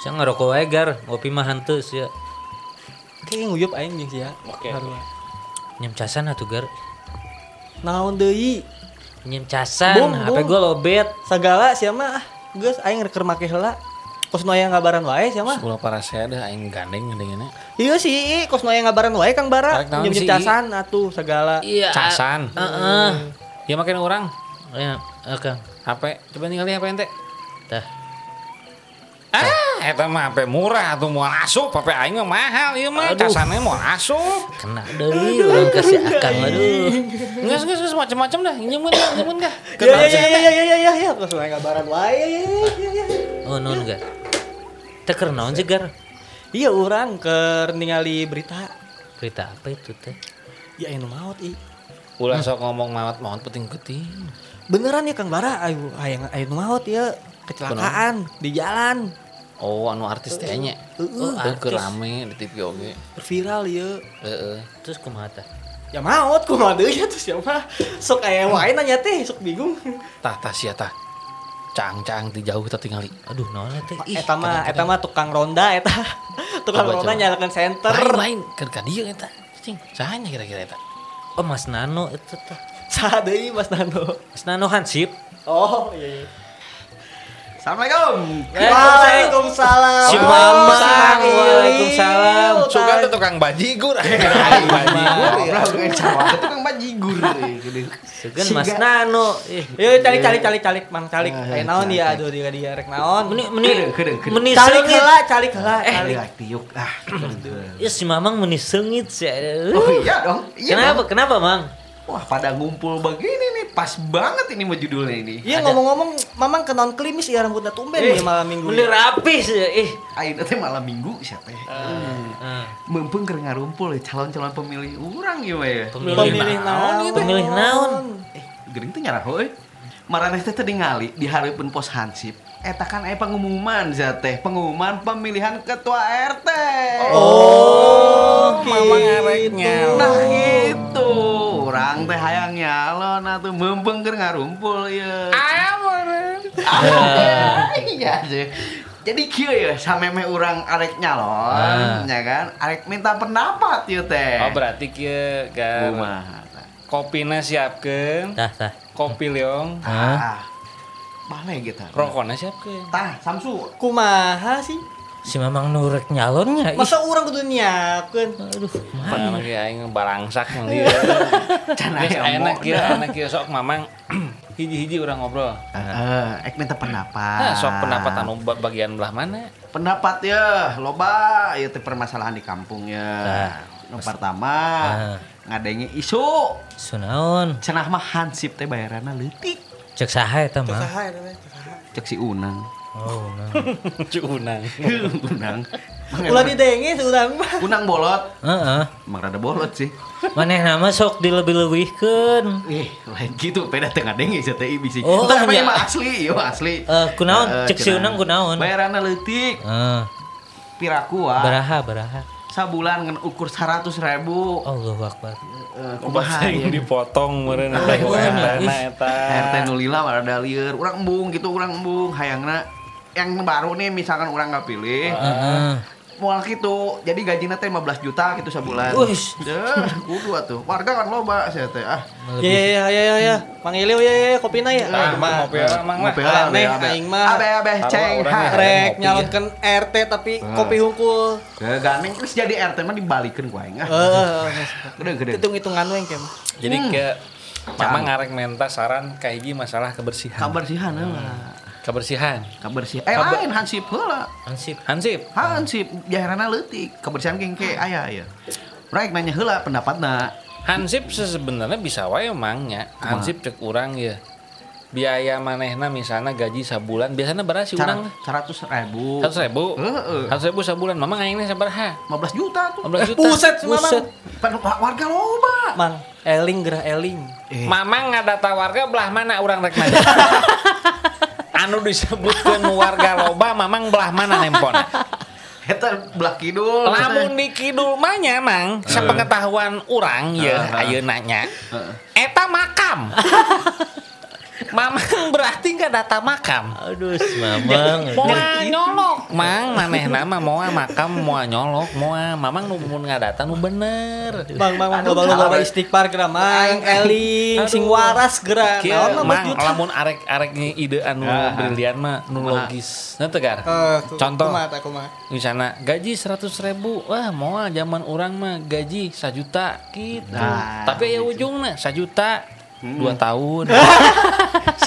Saya ngerokok wae gar, ngopi mah hantu sih. Kayak nguyup aing jeung sia. Oke. Harua. Nyem casan atuh gar. Naon deui? Nyem Bung, casan, HP bung. gua lobet. Sagala sia mah ah, geus aing keur make heula. Kosno aya ngabaran wae sia mah. Sepuluh para saya ada aing gandeng ngedengannya. Ieu sih kosno aya ngabaran wae Kang Bara. Karek naon Nyem si Ii? casan atuh sagala. Iya. Casan. Heeh. Ya makin orang. Ya, eh, Kang. HP coba ningali HP ente. Tah. Ah, eta mah HP murah atuh moal asup, HP aing mah mahal ieu mah. Aduh. Casannya moal asup. Kena deui urang kasih akang aduh. Geus geus geus macam-macam dah. Nyemun dah, nyemun dah. Ya ya ya ya ya ya ya ya kosno aya ngabaran wae. Ya, ya, ya. Oh, naon gar? Teh keur naon sih gar? Iya orang ke ningali berita. Berita apa itu teh? Ya anu maut i. Ulah sok ngomong mawat-mawat penting-penting. Beneran ya Kang Bara, ayo ayo ayo nu maut ya kecelakaan di jalan. Oh, anu artis teh nya. Heeh. Oh, artis. rame di TV oge. Viral ya. Heeh. Terus kumaha tah? Ya maut kumaha deui ya tuh siapa? Sok aya wae nanya teh, sok bingung. Tah tah sia tah. Cang-cang di jauh kita tingali. Aduh, naon ya, teh? Ih, Eta mah eta mah tukang ronda eta. Tukang Coba, ronda coba. nyalakan senter. Lain-lain keur ka dieu eta. Cing, sahanya kira-kira eta. oh Mas Nano itu teh. Saha deui Mas Nano? Mas Nano Hansip. Oh, iya iya. Assalamualaikum. Waalaikumsalam. Waalaikumsalam. Si Oh, Mamang. Kang Iil. Waalaikumsalam. Suka tuh tukang bajigur. Bukan cawang, itu kan bajigur. Segan kan? Mas Nano. Ih. Yuk calik calik calik calik mang calik. Ah, Ayo naon calik, dia calik. aduh dia dia rek naon. Meni meni keren, keren. meni Calik seungit. heula calik heula. Kali calik. tiuk ah. Ya si Mamang meni seungit sih. Aduh. Oh iya dong. Iya kenapa dong. kenapa Mang? Wah pada ngumpul begini nih pas banget ini mau judulnya ini. Iya ngomong-ngomong Mamang kenaon klimis ya rambutnya tumben Eh, ya malam minggu. Meni rapi sih. ya, Ih. Ayo teh malam minggu siapa ya? Hmm. Ah, Mumpung keur ngarumpul ya calon-calon pemilih urang ya we. Pemilih Pemilih naon naon gitu? Pemilih naon? Eh, gering teh nyarah heuy. Maraneh teh teu ningali di hareupeun pos Hansip. Eta kan aya pengumuman za teh, pengumuman pemilihan ketua RT. Oh, Mamang arek nyawa. Nah gitu, orang teh hayang nyalon atuh meumpeng keur ngarumpul ieu. Ah, Iya sih. Jadi kieu ya sameme urang arek nyalon, ya kan? Arek minta pendapat ieu teh. Ah. Oh berarti kieu kan Kumaha, tah. kopina siapkeun, Tah tah. kopi leong, Tah. Mana ya gitu? rokokna siapkeun. Tah, Samsu. Kumaha sih? Si Mamang nurek nyalonnya. Ih. Masa orang kudu nyiapkeun? Aduh, kumaha? Mana lagi aing barangsak meli. Can Geus aya enak ya. omo. kieu, enak kieu sok mamang hiji-hiji urang ngobrol. Heeh, Eh, ek minta Nah, pendapat. sok pendapat anu ba- bagian belah mana? Pendapat ya, loba ieu teh permasalahan di kampung ya. Nu pertama, Ah. ngadenge isu Sunaon? cenah mah hansip teh bayaranna leutik. Cek saha eta Mang? Saha eta teh? saha? Cek si Unang. Oh, nah. Cunang. unang. Mang Ulah emang- didenge si urang mah. Unang bolot. Heeh. Emang rada bolot sih. Maneh nama sok dilebih-lebihkeun. Ih, lain gitu beda tengah dengi ieu teh bisi. Oh, Entah apa iya. ieu mah asli, ieu mah asli. Eh, kunaon? Heeh, Cek si cenah. Unang kunaon? Bayaranna leutik, Heeh. pirakua. Baraha, baraha. Sabulan ngan ukur 100 ribu Allahu Akbar. Eh, Oh. kumaha Aing ieu? dipotong meureun eta Ih. kuarana Nah, iya. eta. RT nulila ada lieur urang embung gitu urang embung hayangna yang baru nih misalkan orang nggak pilih Heeh. mual gitu jadi gajinya teh 15 juta gitu sebulan Wih. Deh, kudu atuh warga kan loba sih teh ah Ya ya ya ya ya. Mang Ileu ya ya ya, kopina ya. Tah, Mah. Kopi Hmm. lah, Mang lah. Ngopi lah, Aneh, abe, abe. aing mah. abe abe Taruh ceng orang ha. ya. Rek Kopi, Nah. nyalonkeun RT tapi Ah. kopi hungkul. Ganeng terus jadi RT mah dibalikin ku aing ah. Heeh. Nah. Gede gede. Hitung-hitungan we kem. Jadi ke Mamang ngarek menta saran ka hiji masalah kebersihan. Kabersihan lah. Kebersihan. Kabersihan. Eh Kabar- lain hansip heula. Ansip. Hansip. Hansip jaharana leutik. Kabersihan kengke aya ya. Rek nanya heula pendapatna. Hansip sebenarnya bisa wae emangnya. Hansip cek urang ya. Biaya manehna misalnya gaji sabulan biasanya berapa sih urang? seratus ribu. Seratus ribu. Heeh. Seratus ribu sabulan. Mamang aingnya sabaraha? 15 juta tuh. 15 juta. Buset si Buset. Mamang. Pan- Warga loba. Mang eling gerah eling. Eh. Eh. Mamang ngadata warga belah mana urang rek nanya. anu disebutkan warga loba mamang belah mana nempon Eta belah kidul. lamun di kidul mah nya, mang sepengetahuan urang ya Heeh. ayeuna nya eta makam Mamang berarti nggak data makam. Aduh, si mamang. ah, Moa nyolok, mang maneh nama moa makam moa nyolok, moa mamang nu mun ngadata nu bener. Bang, bang, bang, Aduh, loba loba salah. istighfar geura mang, eling, Aduh. sing waras geura. Kieu Naon mah mang bos lamun arek-arek nyi ide anu Ah. brilian mah nu Kumaha? logis. Nah tegar. Contoh. Contoh. Kumat, kumat. Misalnya gaji 100.000 ribu, wah moa zaman orang mah gaji 1 juta gitu. Nah, Hmm. Tapi ya ujungnya 1 juta dua tahun.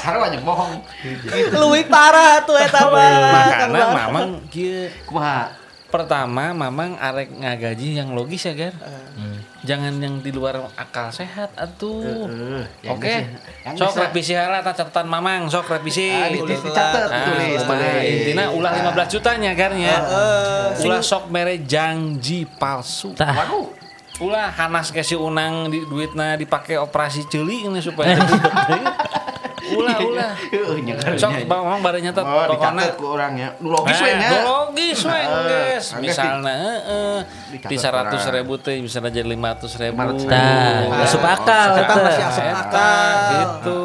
Sarwanya bohong. Gitu. Luwih parah tuh eta mah. Kang Makanya Bara. mamang kieu Kumaha? pertama mamang arek ngagaji yang logis ya gar. Ah. Jangan yang di luar akal sehat atuh. Heeh, Ya, yang Oke, bisa- yang sok bisa. revisi harata catatan Mamang, sok revisi. Ah, di- di- dicatat Ah, tulis, nah, tulis. intinya ulah Ah. 15 jutanya kan ya. Eh, sing- ulah sok mere janji palsu. Tah. Ah. Waduh. Ulah hanas ke si Unang di duitna dipake operasi ceuli ini supaya ceuli. ulah ulah. Heeh, nya Sok Mamang bare nyatet Oh, pokona. dicatat ke orang ya. Nu iya. Logis Ah, we nya. Nah, logis we Heeh, guys. oke, Misalnya heeh, Dicatat di 100 ribu teh bisa jadi 500 ribu. 500.000. Tah, Oh, asup akal. asup Eta teh. masih asup Eta, akal. Gitu.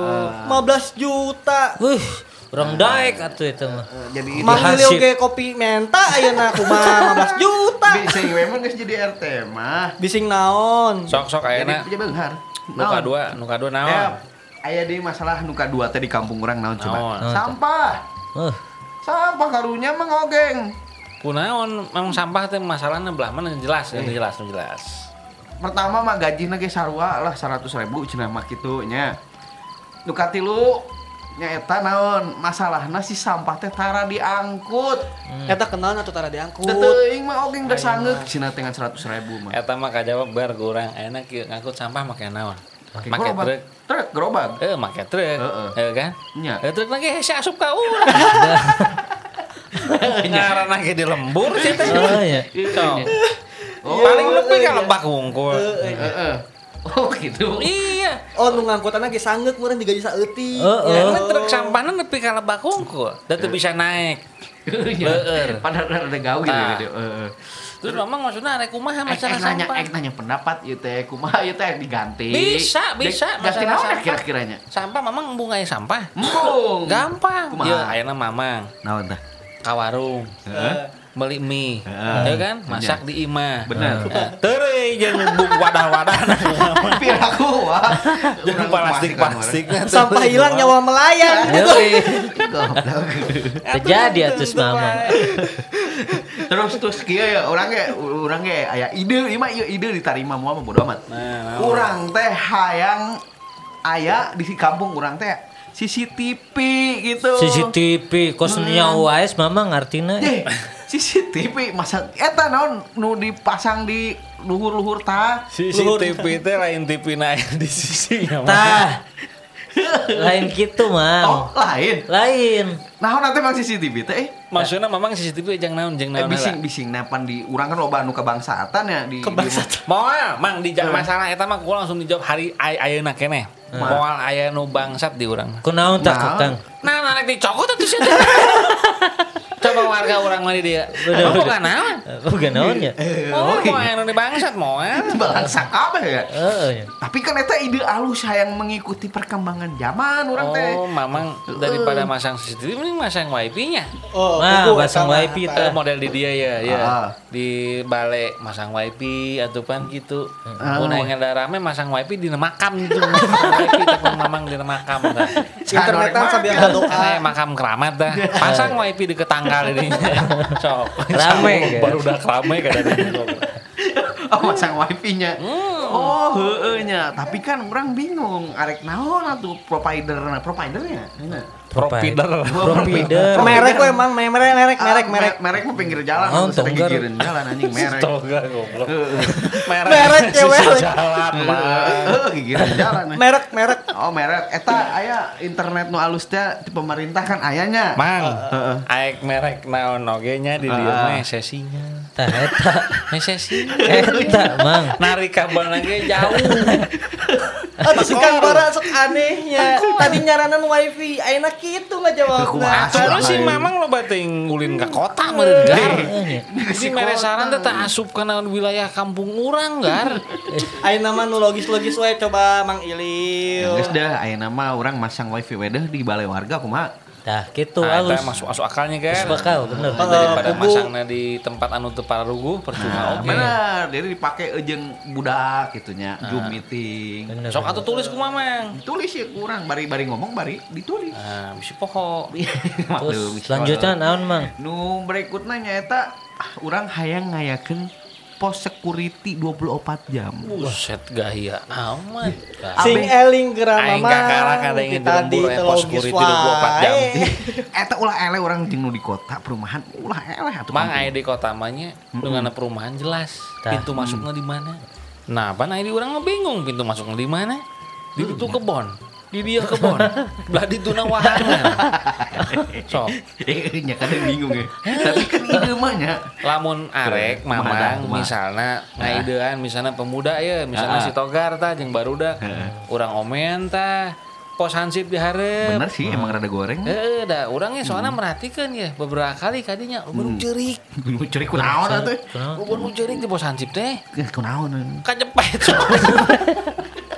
15 juta. Wih, orang daek atuh itu mah. Eh, Jadi itu Mah. Manggil Hansip. ge kopi menta ayeuna kumaha 15 juta. bisa we mah geus jadi RT mah. Bising naon? Sok-sok ayeuna Jadi punya benghar. Nuka Naon? dua, nuka dua Eh, naon? Aya di masalah nuka dua teh di kampung orang naon Naon? coba. Naon, tah? Sampah. Uh, Sampah karunya mah ngogeng. Kunaon memang sampah teh masalahnya belah mana yang jelas, yang jelas, yang jelas. Pertama mah gaji ge sarua lah 100 ribu cenah mah kitu nya. Nuka tilu nya eta naon? Masalahna si sampah teh tara diangkut. Eta kenal atau tara diangkut. Da teuing mah ogeng da sangeuk cenah dengan 100 ribu mah. Eta mah kajawab bar gorang, enak kieu ngangkut sampah make naon? Make gerobak. truk. Truk gerobak. Eh, make truk. Heeh. Eh kan? Nya. Eh truk lagi hese asup ka urang. Ngarana ge di lembur sih teh. oh ya. Cong. Paling lebih ka lebak wungkul. Heeh. Oh gitu. Iya. Oh, nu ngangkutanna ge sangeuk meureun digaji saeutik. Heeh. Ya, Karena kan truk sampahnya lebih ka lebak wungkul. Da teu bisa naik. Leueur. Heeh. Ya. Padahal ada gawe Tah. gitu. Heeh. Terus memang maksudnya arek kumaha Ek, masalah ek nanya, sampah? ek nanya pendapat ieu teh kumaha ieu teh diganti. Bisa, bisa, Dek- Ganti masalah naon sampah. dah kira-kiranya? Sampah mamang bungai sampah. Embung. Gampang. Kumaha? Ya, ayeuna mamang Naon tah? ka warung. Beli mie. Heeh. Iya. Ya kan? Masak di imah. Bener. Eh, Teureung jeung bung wadah-wadah. Piraku wah. kan, Jeung Urang plastik-plastik. sampah hilang nyawa melayang. Yoi. plastik orang. Goblok. Terjadi atus mamang. Terus terus kieu ya urang ge urang ge aya ya, ide ieu mah ieu ide ditarima moal mah bodo amat. Nah, naon? Urang teh hayang aya di kampung urang teh CCTV gitu. CCTV kos nyawa waes mamang artinya. Eh, CCTV masa eta naon nu dipasang di luhur-luhur tah. CCTV teh lain TV naik di sisi Tah. Lain gitu, Oh, Mang. lain. Lain. Naon nanti mang CCTV teh? eh? Maksudnya mamang CCTV jeung naon jeung Eh, naon. heula. bising-bising napan di urang kan loba nu kebangsaatan ya di Kebangsaan. Moal, mang dijawab masalah eta mah gua langsung dijawab hari ay- ayeuna keneh. Moal aya nu bangsat di urang. Kunaon tak Naon? kakang? Nah, anak dicokot atau sih? Coba warga orang mandi dia. Bener, Kamu bener. kan naon? Oh, gak naon ya? Eh. Oh, mau yang di bangsat mau ya? di bangsa kabeh ya. Heeh ya. Tapi kan eta ide alus hayang mengikuti perkembangan zaman urang teh. Oh, mamang daripada masang CCTV mending masang wifi-nya. Oh, Nah, kuku pasang eta mah, wifi eta. teh. Eh, model di dia ya, ya. Ah. Di balai masang wifi atau pan gitu. Ah. Mun yang ada rame masang wifi di makam gitu. Masang wifi tapi mamang di makam dah. Internetan Canorek sambil makan. doa. Karena ya makam keramat dah. Pasang wifi deket tanggal ini. Sok. Rame, ya. Baru udah rame kadang-kadang. Oh, masang wifi-nya. Hmm. Oh, heeh nya. Tapi kan orang bingung arek naon atuh provider nah providernya. Nah. Provider. Provider. Provider. Merek we mang, merek merek merek merek. Ah, merek mah pinggir jalan Oh, atuh sering tonggar. gigireun jalan anjing merek. Toga goblok. Heeh. Merek ya, sisi merek. jalan mah. Heeh, gigireun jalan. eh. Merek merek. Oh, merek eta aya internet nu alus teh di pemerintah kan ayanya. Mang, Heeh. aek merek naon oge nya di dieu Heeh. mah sesinya. Tah eta. Meh sesi. Eta, Mang. Nari kabel na ge jauh. Aduh, si Kang Bara sok anehnya. Tadi nyaranan wifi, gitu ayeuna kitu ngajawabna. Kumaha, Terus si Mamang lo bating ngulin ke kota merendah. Eh, nya. Jadi meresaran teh tak asup kana wilayah kampung urang gar. Ayeuna mah nu logis-logis wae coba Mang Ilil. Geus dah ayeuna mah urang masang wifi wedeh di balai warga kumaha. Dah gitu Nah, eta halus. masuk masuk akalnya Terus gar. bakal bener. Nah, Oh. daripada kubu. masangna di tempat anu teu parugu Ah, percuma oge. Bener, jadi dipakai jeung budak gitunya, Zoom meeting. Bener. Sok atuh tulis ku Mamang. Ditulis ya kurang, bari-bari ngomong bari ditulis. Nah, bisi poho. Iya. Terus Maklum, selanjutnya naon mang? nu berikutnya nyaeta ah, urang hayang ngayakeun pos security 24 jam. Buset gaya amat. Gar. Sing eling geura Aing mah. kakara kadangin di lembur, eh, pos security 24 jam. Eta ulah eleh orang jeung nu di kota perumahan ulah eleh atuh. Mang kampung. aya di kota mah nya dengan perumahan jelas. Tah. Pintu masuknya di mana? Nah, pan aya di urang mah bingung pintu masuknya di mana? Di itu kebon. Di dia kebon. Belah di tuna wahangan. Sok, Eh, nya kadang bingung ya. Tapi kan ide mah nya. lamun arek Kumaha dah, mamang kumaha? misalna ngaidean misalna pemuda ya, misalna Ah. si Togar tah jeung Baruda. Urang omen tah pos hansip di hareup. Bener sih emang rada goreng. Heeh, dah urangnya soalnya merhatikan ya beberapa kali kadinya urang cerik. Lu curi kunaon atuh. Kunaon? Urang cerik di pos hansip teh. Eh, Kunaon. kejepet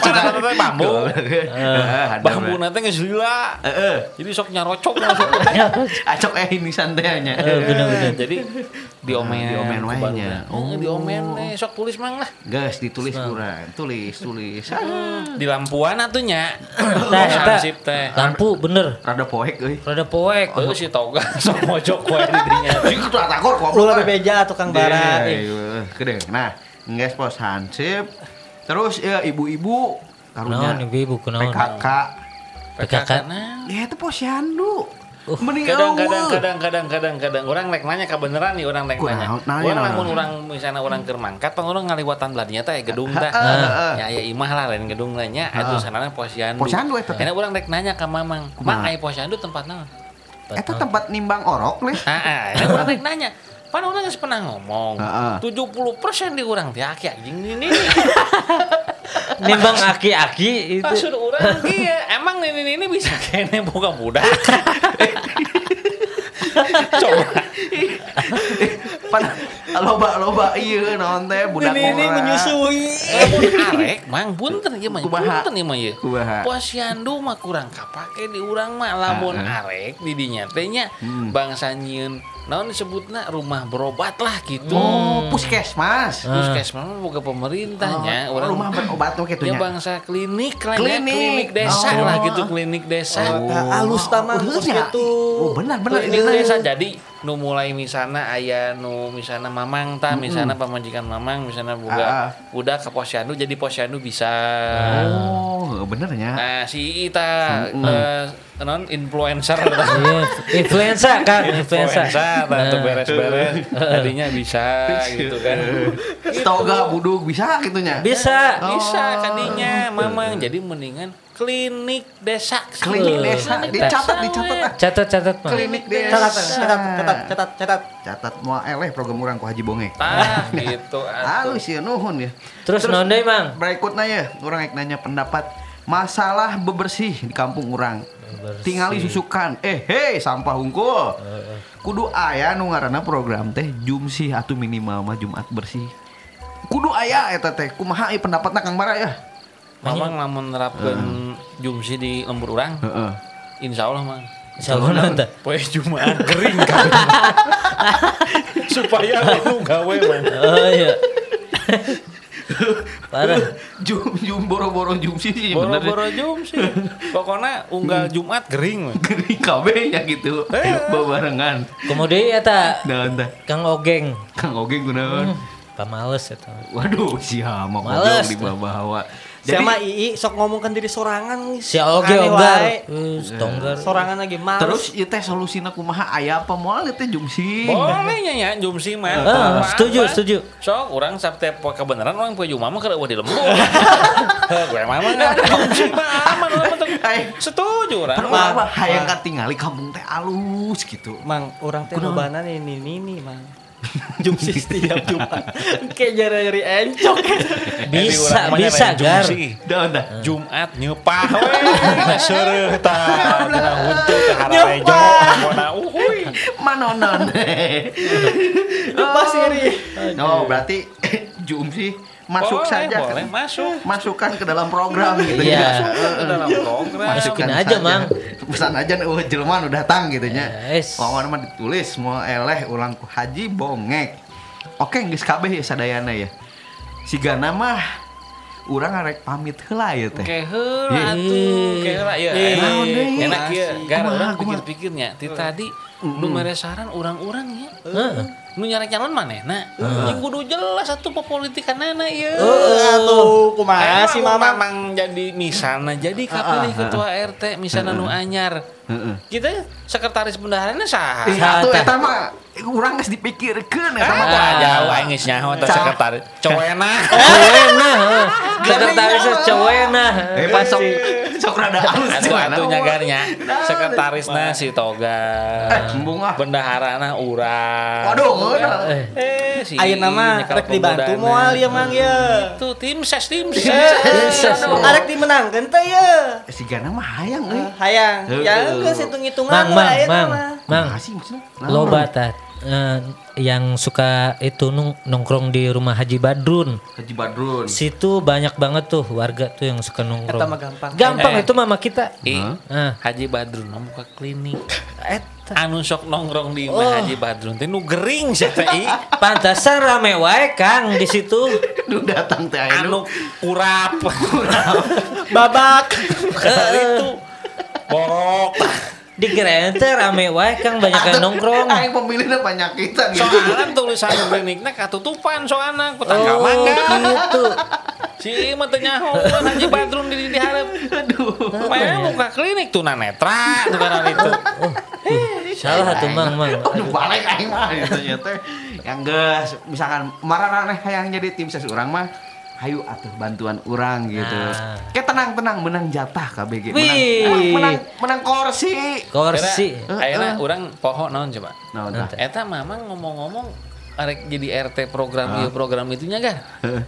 Padahal teh bambu Heeh, bambu nanti nggak gila Heeh. jadi sok nyarocok maksudnya Acok eh ini santainya. Eh, bener-bener. jadi diomen Ah, Diomen Oh. wae kebaruan. nya. Heeh, diomen nih sok tulis mang lah Guys, ditulis kurang. Tulis, tulis. Ah, di lampuan atunya Teh, eta. hansip teh Lampu bener. Rada poek euy. Rada poek. Oh, Lalu si toga sok mojok wae di dinya Itu takor kok. Lu lebih beja tukang Eh, barat. Iya, iya, Gede. Nah, nges pos hansip. Terus ya ibu-ibu Naon karunya ibu kunaon? PKK. PKK. Nah, Ya itu pos yandu. Uh, Mending kadang eueuh. kadang kadang kadang kadang kadang orang naik nanya kebeneran nih orang naik Kurang, nanya nanya, orang nanya. namun orang misalnya orang ke mangkat pang orang ngaliwatan beladinya teh gedung teh Heeh, heeh. ya ya imah lah lain gedung nanya Heeh. itu sanana posyandu Posyandu eta teh. Karena orang naik nanya ke mamang mang Kumaha? aya posyandu tempat naon Eta tempat nimbang orok nih. heeh ini orang naik nanya pan orang geus pernah ngomong Heeh. 70% di orang teh aki anjing ini Nimbang aki-aki itu. maksud orang ieu emang ini ini bisa kene boga budak coba Pan loba loba iya naon teh budak Ini ini orang. menyusui. Lamun arek mang punten ieu mah Kumaha? punten iya, ieu mah ieu. Kumaha? Posyandu mah kurang kapake di urang mah lamun Ah, arek di dinya teh nya Hmm. bangsa nyieun naon disebutna rumah berobat lah gitu. Oh, puskesmas. Ah. Puskesmas mah boga pemerintahnya Iya, Oh, orang rumah berobat tuh gitu ya nya. bangsa klinik lah ya, Klinik. klinik desa Oh. lah gitu klinik desa. Eta alus tamang, Heeh, pos nya. gitu. Oh, benar benar. klinik desa jadi nu mulai misalnya ayah nu misalnya mamang ta misalnya pemajikan mamang misalnya Ah, ah. budak budak ke posyandu jadi posyandu bisa Oh, benernya. Nah, si Ita non influencer Iya, influenza kan, influenza. atau Nah. beres-beres tadinya bisa gitu kan. Toga buduk bisa gitu gitunya. Bisa. Bisa Oh. tadinya Mamang. Jadi mendingan klinik desa. Klinik Eh, desa eta. dicatat dicatat ah. Catat-catat mang. Klinik Catat, desa. catat, catat, catat, catat. Catat mau eleh program urang ku Haji Bonge. Tah gitu. atuh. Halus ya nuhun ya. Terus naon deui mang? Berikutnya ya, orang yang nanya pendapat masalah bebersih di kampung orang. Bebersih. Eh, Tingali susukan. Eh, hei, sampah hungkul. Kudu aya nu ngaranna program teh Jumsih atau minimal mah Jumat bersih. Kudu aya eta teh. Kumaha ieu pendapatna Kang Bara ya? Mamang lamun nerapkeun jumsi di lembur urang, Heeh. insya Allah mang. Sauna teh. Poe Jumaan kering kan. Supaya lu gawe mang. Oh iya. Parah. Jum jum boro-boro Jumsih sih bener. Boro-boro jumsi. Pokoknya unggal Jumat Hmm. kering. mang. Geri KB nya gitu. Eh. Bebarengan. Kemudian eta Nah, entah. Kang Ogeng. ya, Kang Oge Hmm. gunaon. Pamales eta. Waduh, sia mah Males. di bawah. Sama Ii sok ngomongkan diri sorangan. Si Oge Aneh Ogar. wae. Eh, Stonggar. Sorangan lagi males. Terus ieu teh solusina kumaha aya apa moal ieu teh jumsing. Boleh nyanyi jumsi mah. Ah, Apa-apa. setuju, setuju. Sok orang sabte poe kebenaran orang poe jumat mah kada eueuh di lembur. Heh, Gue mah mah nggak ada jumsi mah aman lah mah teu- Eh. Setuju orang. Terus Mang, apa? Hayang mang. katingali kampung teh alus gitu. Mang, orang teh Kunaon? lobanan ini ini mang. Jumsis tiap Jumat. Kayak jari-jari encok. Bisa, bisa, Gar. Dah, dah. Jumat nyupah we seureut ta dina huntu ka harare Nyupah. jong pokona uhuy. Manonon. Oh. Lupa siri. No, berarti Jum sih masuk Boleh, saja. Boleh masuk. Masukkan ke dalam program gitu Iya. ya. Masuk ke dalam program. Masukin aja, saja. Mang. Pesan aja nih, "Wah, jelema udah datang gitu nya. Yes. Lawan mah ditulis mau eleh ulang ku haji bongek. Oke, geus kabeh ya sadayana ya. Sigana mah urang arek pamit heula ya teh. Oke, heula atuh, heula Iya. ya. Enak, Naon deui? enak ya. Gara Kumaha, orang kumaha? pikir-pikirnya, ti tadi nu mere saran orang-orang ya. Heeh. Nu nyari calon manehna, ya kudu jelas atuh pepolitikanana ieu. Aduh, kumaha Emang sih Mama? Mamang jadi misalnya jadi kapilih ketua RT misalnya nu anyar. Heeh. Kita sekretaris bendaharanya sah. Eh, atuh eta mah urang geus dipikirkeun eta mah. Ah, jauh aing geus nyaho teh Cak. sekretaris. Coena. Cowena. heeh. Sekretarisnya cowena. Eh, pas sok sok rada halus. Atuh cuman. atuh nyagarnya. Sekretarisna si Toga. Eh, embung ah. Bendaharana urang. Waduh, Urang. eh. Ah, Eh, si Ayeuna mah nyekal rek dibantu pembudana. moal ya Mang ya. Tuh tim ses tim Eh, ses. Yes, aduh, yes. Arek dimenangkeun teh ya. Sigana mah hayang euy. Ah, Eh, Hayang, Heuh. ya geus hitung-hitungan ya, Mang, mang, wae eta mang, mah. mang. Nah, sih maksudnya. Nah, Loba tat. Eh, yang suka itu nung- nongkrong di rumah Haji Badrun. Haji Badrun. Situ banyak banget tuh warga tuh yang suka nongkrong. Eta mah gampang. Gampang Eh. itu mama kita. Nah. Ih, Hah? Haji Badrun mah buka klinik. Eta. Anu sok nongkrong di imah Haji Badrun teh nu gering sia teh i. Pantasan rame wae Kang di situ. Duh datang teh aya Anu nu. kurap. Babak. Kali itu borok. Eh, Di Grand teh rame wae Kang banyak yang nongkrong. Oh, Aing pemilihnya penyakitan gitu. Soalan tulisan kliniknya katutupan soalna ku tangga Oh, mangga. gitu. Si mah teu nyaho kan Haji Badrun di di hareup. Aduh. Mana buka klinik tunanetra tuh kan itu. Salah tuh Mang, Mang. Aduh Oh, balik aing mah gitu nya teh. Yang geus misalkan mararaneh hayang jadi tim ses urang mah hayu atuh bantuan urang gitu. Nah. Kayak tenang-tenang menang jatah KBG. Menang, Wih. menang, menang, menang kursi. Korsi. Ayeuna urang pohon naon coba. Nah, udah. Nah, Eta mamang ngomong-ngomong arek jadi RT program ieu program itunya kan.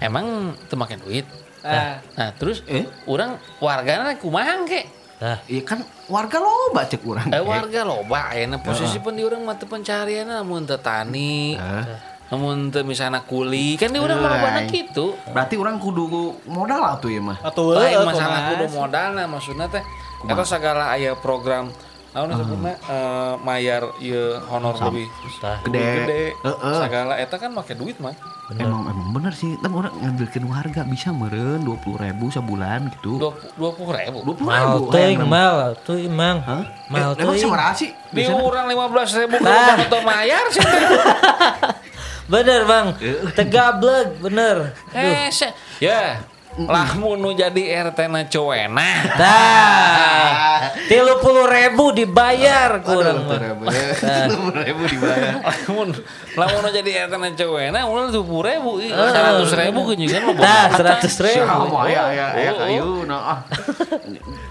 Emang teu make duit. Ah. Nah, terus Eh? urang wargana kumaha ke? Tah. Iya kan warga loba cek urang. Eh warga loba ayeuna posisi pun di urang mata pencarian namun teu tani. Heeh. Namun teu misalna kuli kan di urang Euy. lobana kitu. Berarti urang kudu modal atuh ya mah. Atuh Lain heuh masalah kudu kumaha. modalna maksudna teh eta segala aya program naon disebutna eh, mayar ieu honor lebih Tah. lebih Gede. gede. Heeh. Segala eta kan make duit mah. Emang emang bener sih, tapi orang ngambilkan warga bisa meren dua puluh ribu sebulan gitu. dua puluh ribu Dua puluh Mal ribu. tuh, mal tuh, mang. Hah? Mal Mal tuh. Emang seberapa sih? di urang lima belas ribu Nah. atau mayar sih Bener bang, tegablek bener. eh se- ya lah munu jadi RT na cowena Ah, Dah, tiga puluh ribu dibayar kurang Dua mah. ribu. Dua puluh ribu dibayar. lamun lamun jadi RT na cowena urang tujuh puluh ribu seratus ribu kan juga mah boga. Dah, seratus ribu. Sama ya ya ya Oh, oh. kayu nah ah.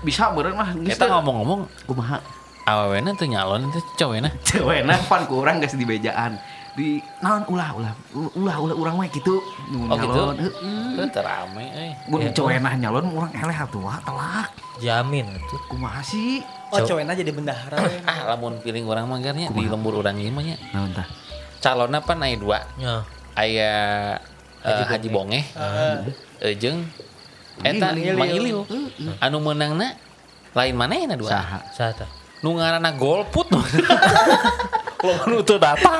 Bisa meren mah. kita ngomong-ngomong kumaha? awewena tuh nyalon itu cowena Cewena pan kurang geus di bejaan. Di naon ulah ulah ulah ulah urang mah gitu. oh gitu Nyalon. Tuh terame eh Mun cewena nyalon urang eleh atuh wah telak. Jamin itu. Kumaha sih? Oh, cowoknya jadi bendahara. we. ah lamun piling orang manggarnya di lembur urang ieu mah nya Naon tah? calonna pan aya dua Ya. aya eh, Haji Bongeh Ah. jeung eta Iliu. Mang Iliu anu meunangna lain manehna dua Saha? Sata. nu ngaranna golput lo nu teu datang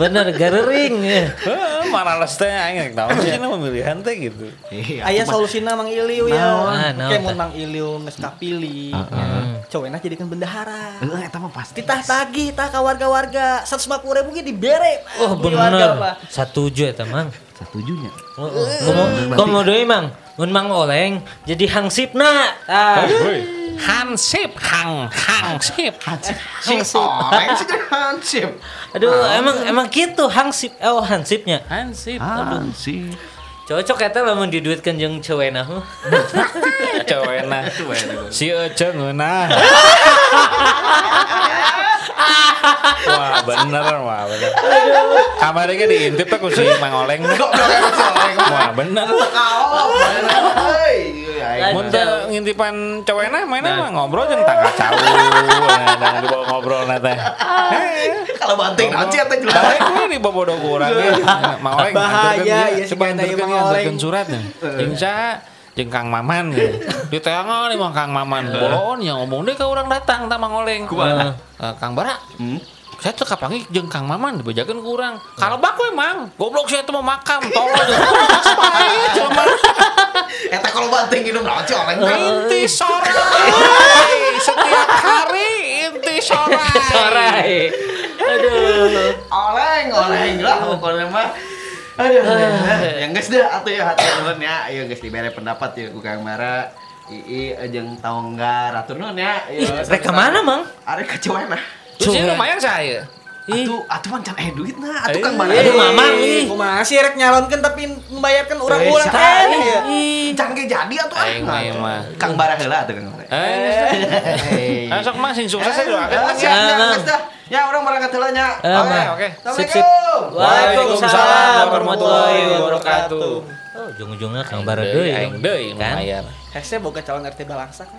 Bener garering. ya. Heuh, maralas teh aing tahu sih nama pemilihan teh gitu Iya, Ayah aku solusina Mang Iliu ya. Naon? Ah, naon, Kayak mun tah. Mang Iliu geus kapilih. Heeh. Cowoknya jadikan bendahara. Eh, eta mah pasti. Titah tagi, tah ke warga-warga. 150 ribu ge dibere. Oh Di warga, Pak. bener. Satu juta eta mang. Satujunya. Oh, oh. Komo, komo deui mang. Mun mang oleng jadi hangsipna. Ah. Hansip, hang, hangsip. Hansip. Si orang sih jadi hansip. Aduh, emang emang gitu hangsip. Oh, hansipnya. Hansip. Ah. Aduh, Hansip. Cocok ya, eta lamun diduitkeun jeung cewena mah. cewena. Si Ece ngeunah. Wah bener, wah bener. Kamarnya kan diintip tuh kursi Mang Oleng. Wah bener. Kau, Mun teu ngintipan cowena mainnya mah ngobrol jeung tangga cau. Nah, dan dibawa ngobrol na teh. Kalau banting nanti ya teh Barek we di bobodo kurang ge. Mang Oleng Bahaya, ya, si coba Genta ieu anterkeun Mang Oleng. anterkeun surat ya. nih. Jeung sa jeung Kang Maman ya. ge. Di tengah nih Mang Kang Maman. Boloon yang ngomong deui ka urang datang ta Mang Oleng. Kumaha? Eh, Kang Bara. Saya tuh kapangi jeung Kang Maman dibajakeun ku urang. Kalebak we Mang. Goblok saya tuh mau makam. Tolong jeung Cuman Eta kalau banting hidung nanti oleng kan. inti sorai setiap hari inti sorai Sorai. Aduh. Oleng, oleng lah pokoknya mah. Aduh, yang geus deh atuh ya hati nuhun ya. Ayo geus dibere pendapat ya ku Kang Mara. Ii jeung Taonggar atur nuhun ya. Ih, rek ka mana, Mang? Arek ka Cewena. terus ini lumayan saya Ih. Atuh, atuh mah can aya duitna. Atuh Eh, Kang Mara. Aduh, Aduh, Mamang, ih. masih rek nyalonkan tapi membayarkan Eh, orang-orang sae. kan ya. can ge jadi atuh ah. Aing mah, aing mah. Kang Bara heula atuh Kang Mara. eh Hei. nah, sok mah sing sukses aja doakan Eh, Mang, ya. siap, siap, Mang. geus dah. Ya, orang berangkat heula nya. Eh, Oke, Mang. oke. Sip, sip. Assalamualaikum. Waalaikumsalam warahmatullahi wabarakatuh. Oh, ujung-ujungnya Kang Bara Deui, deui. aing deui Kan? lumayan Hese boga kan? calon RT Balangsak.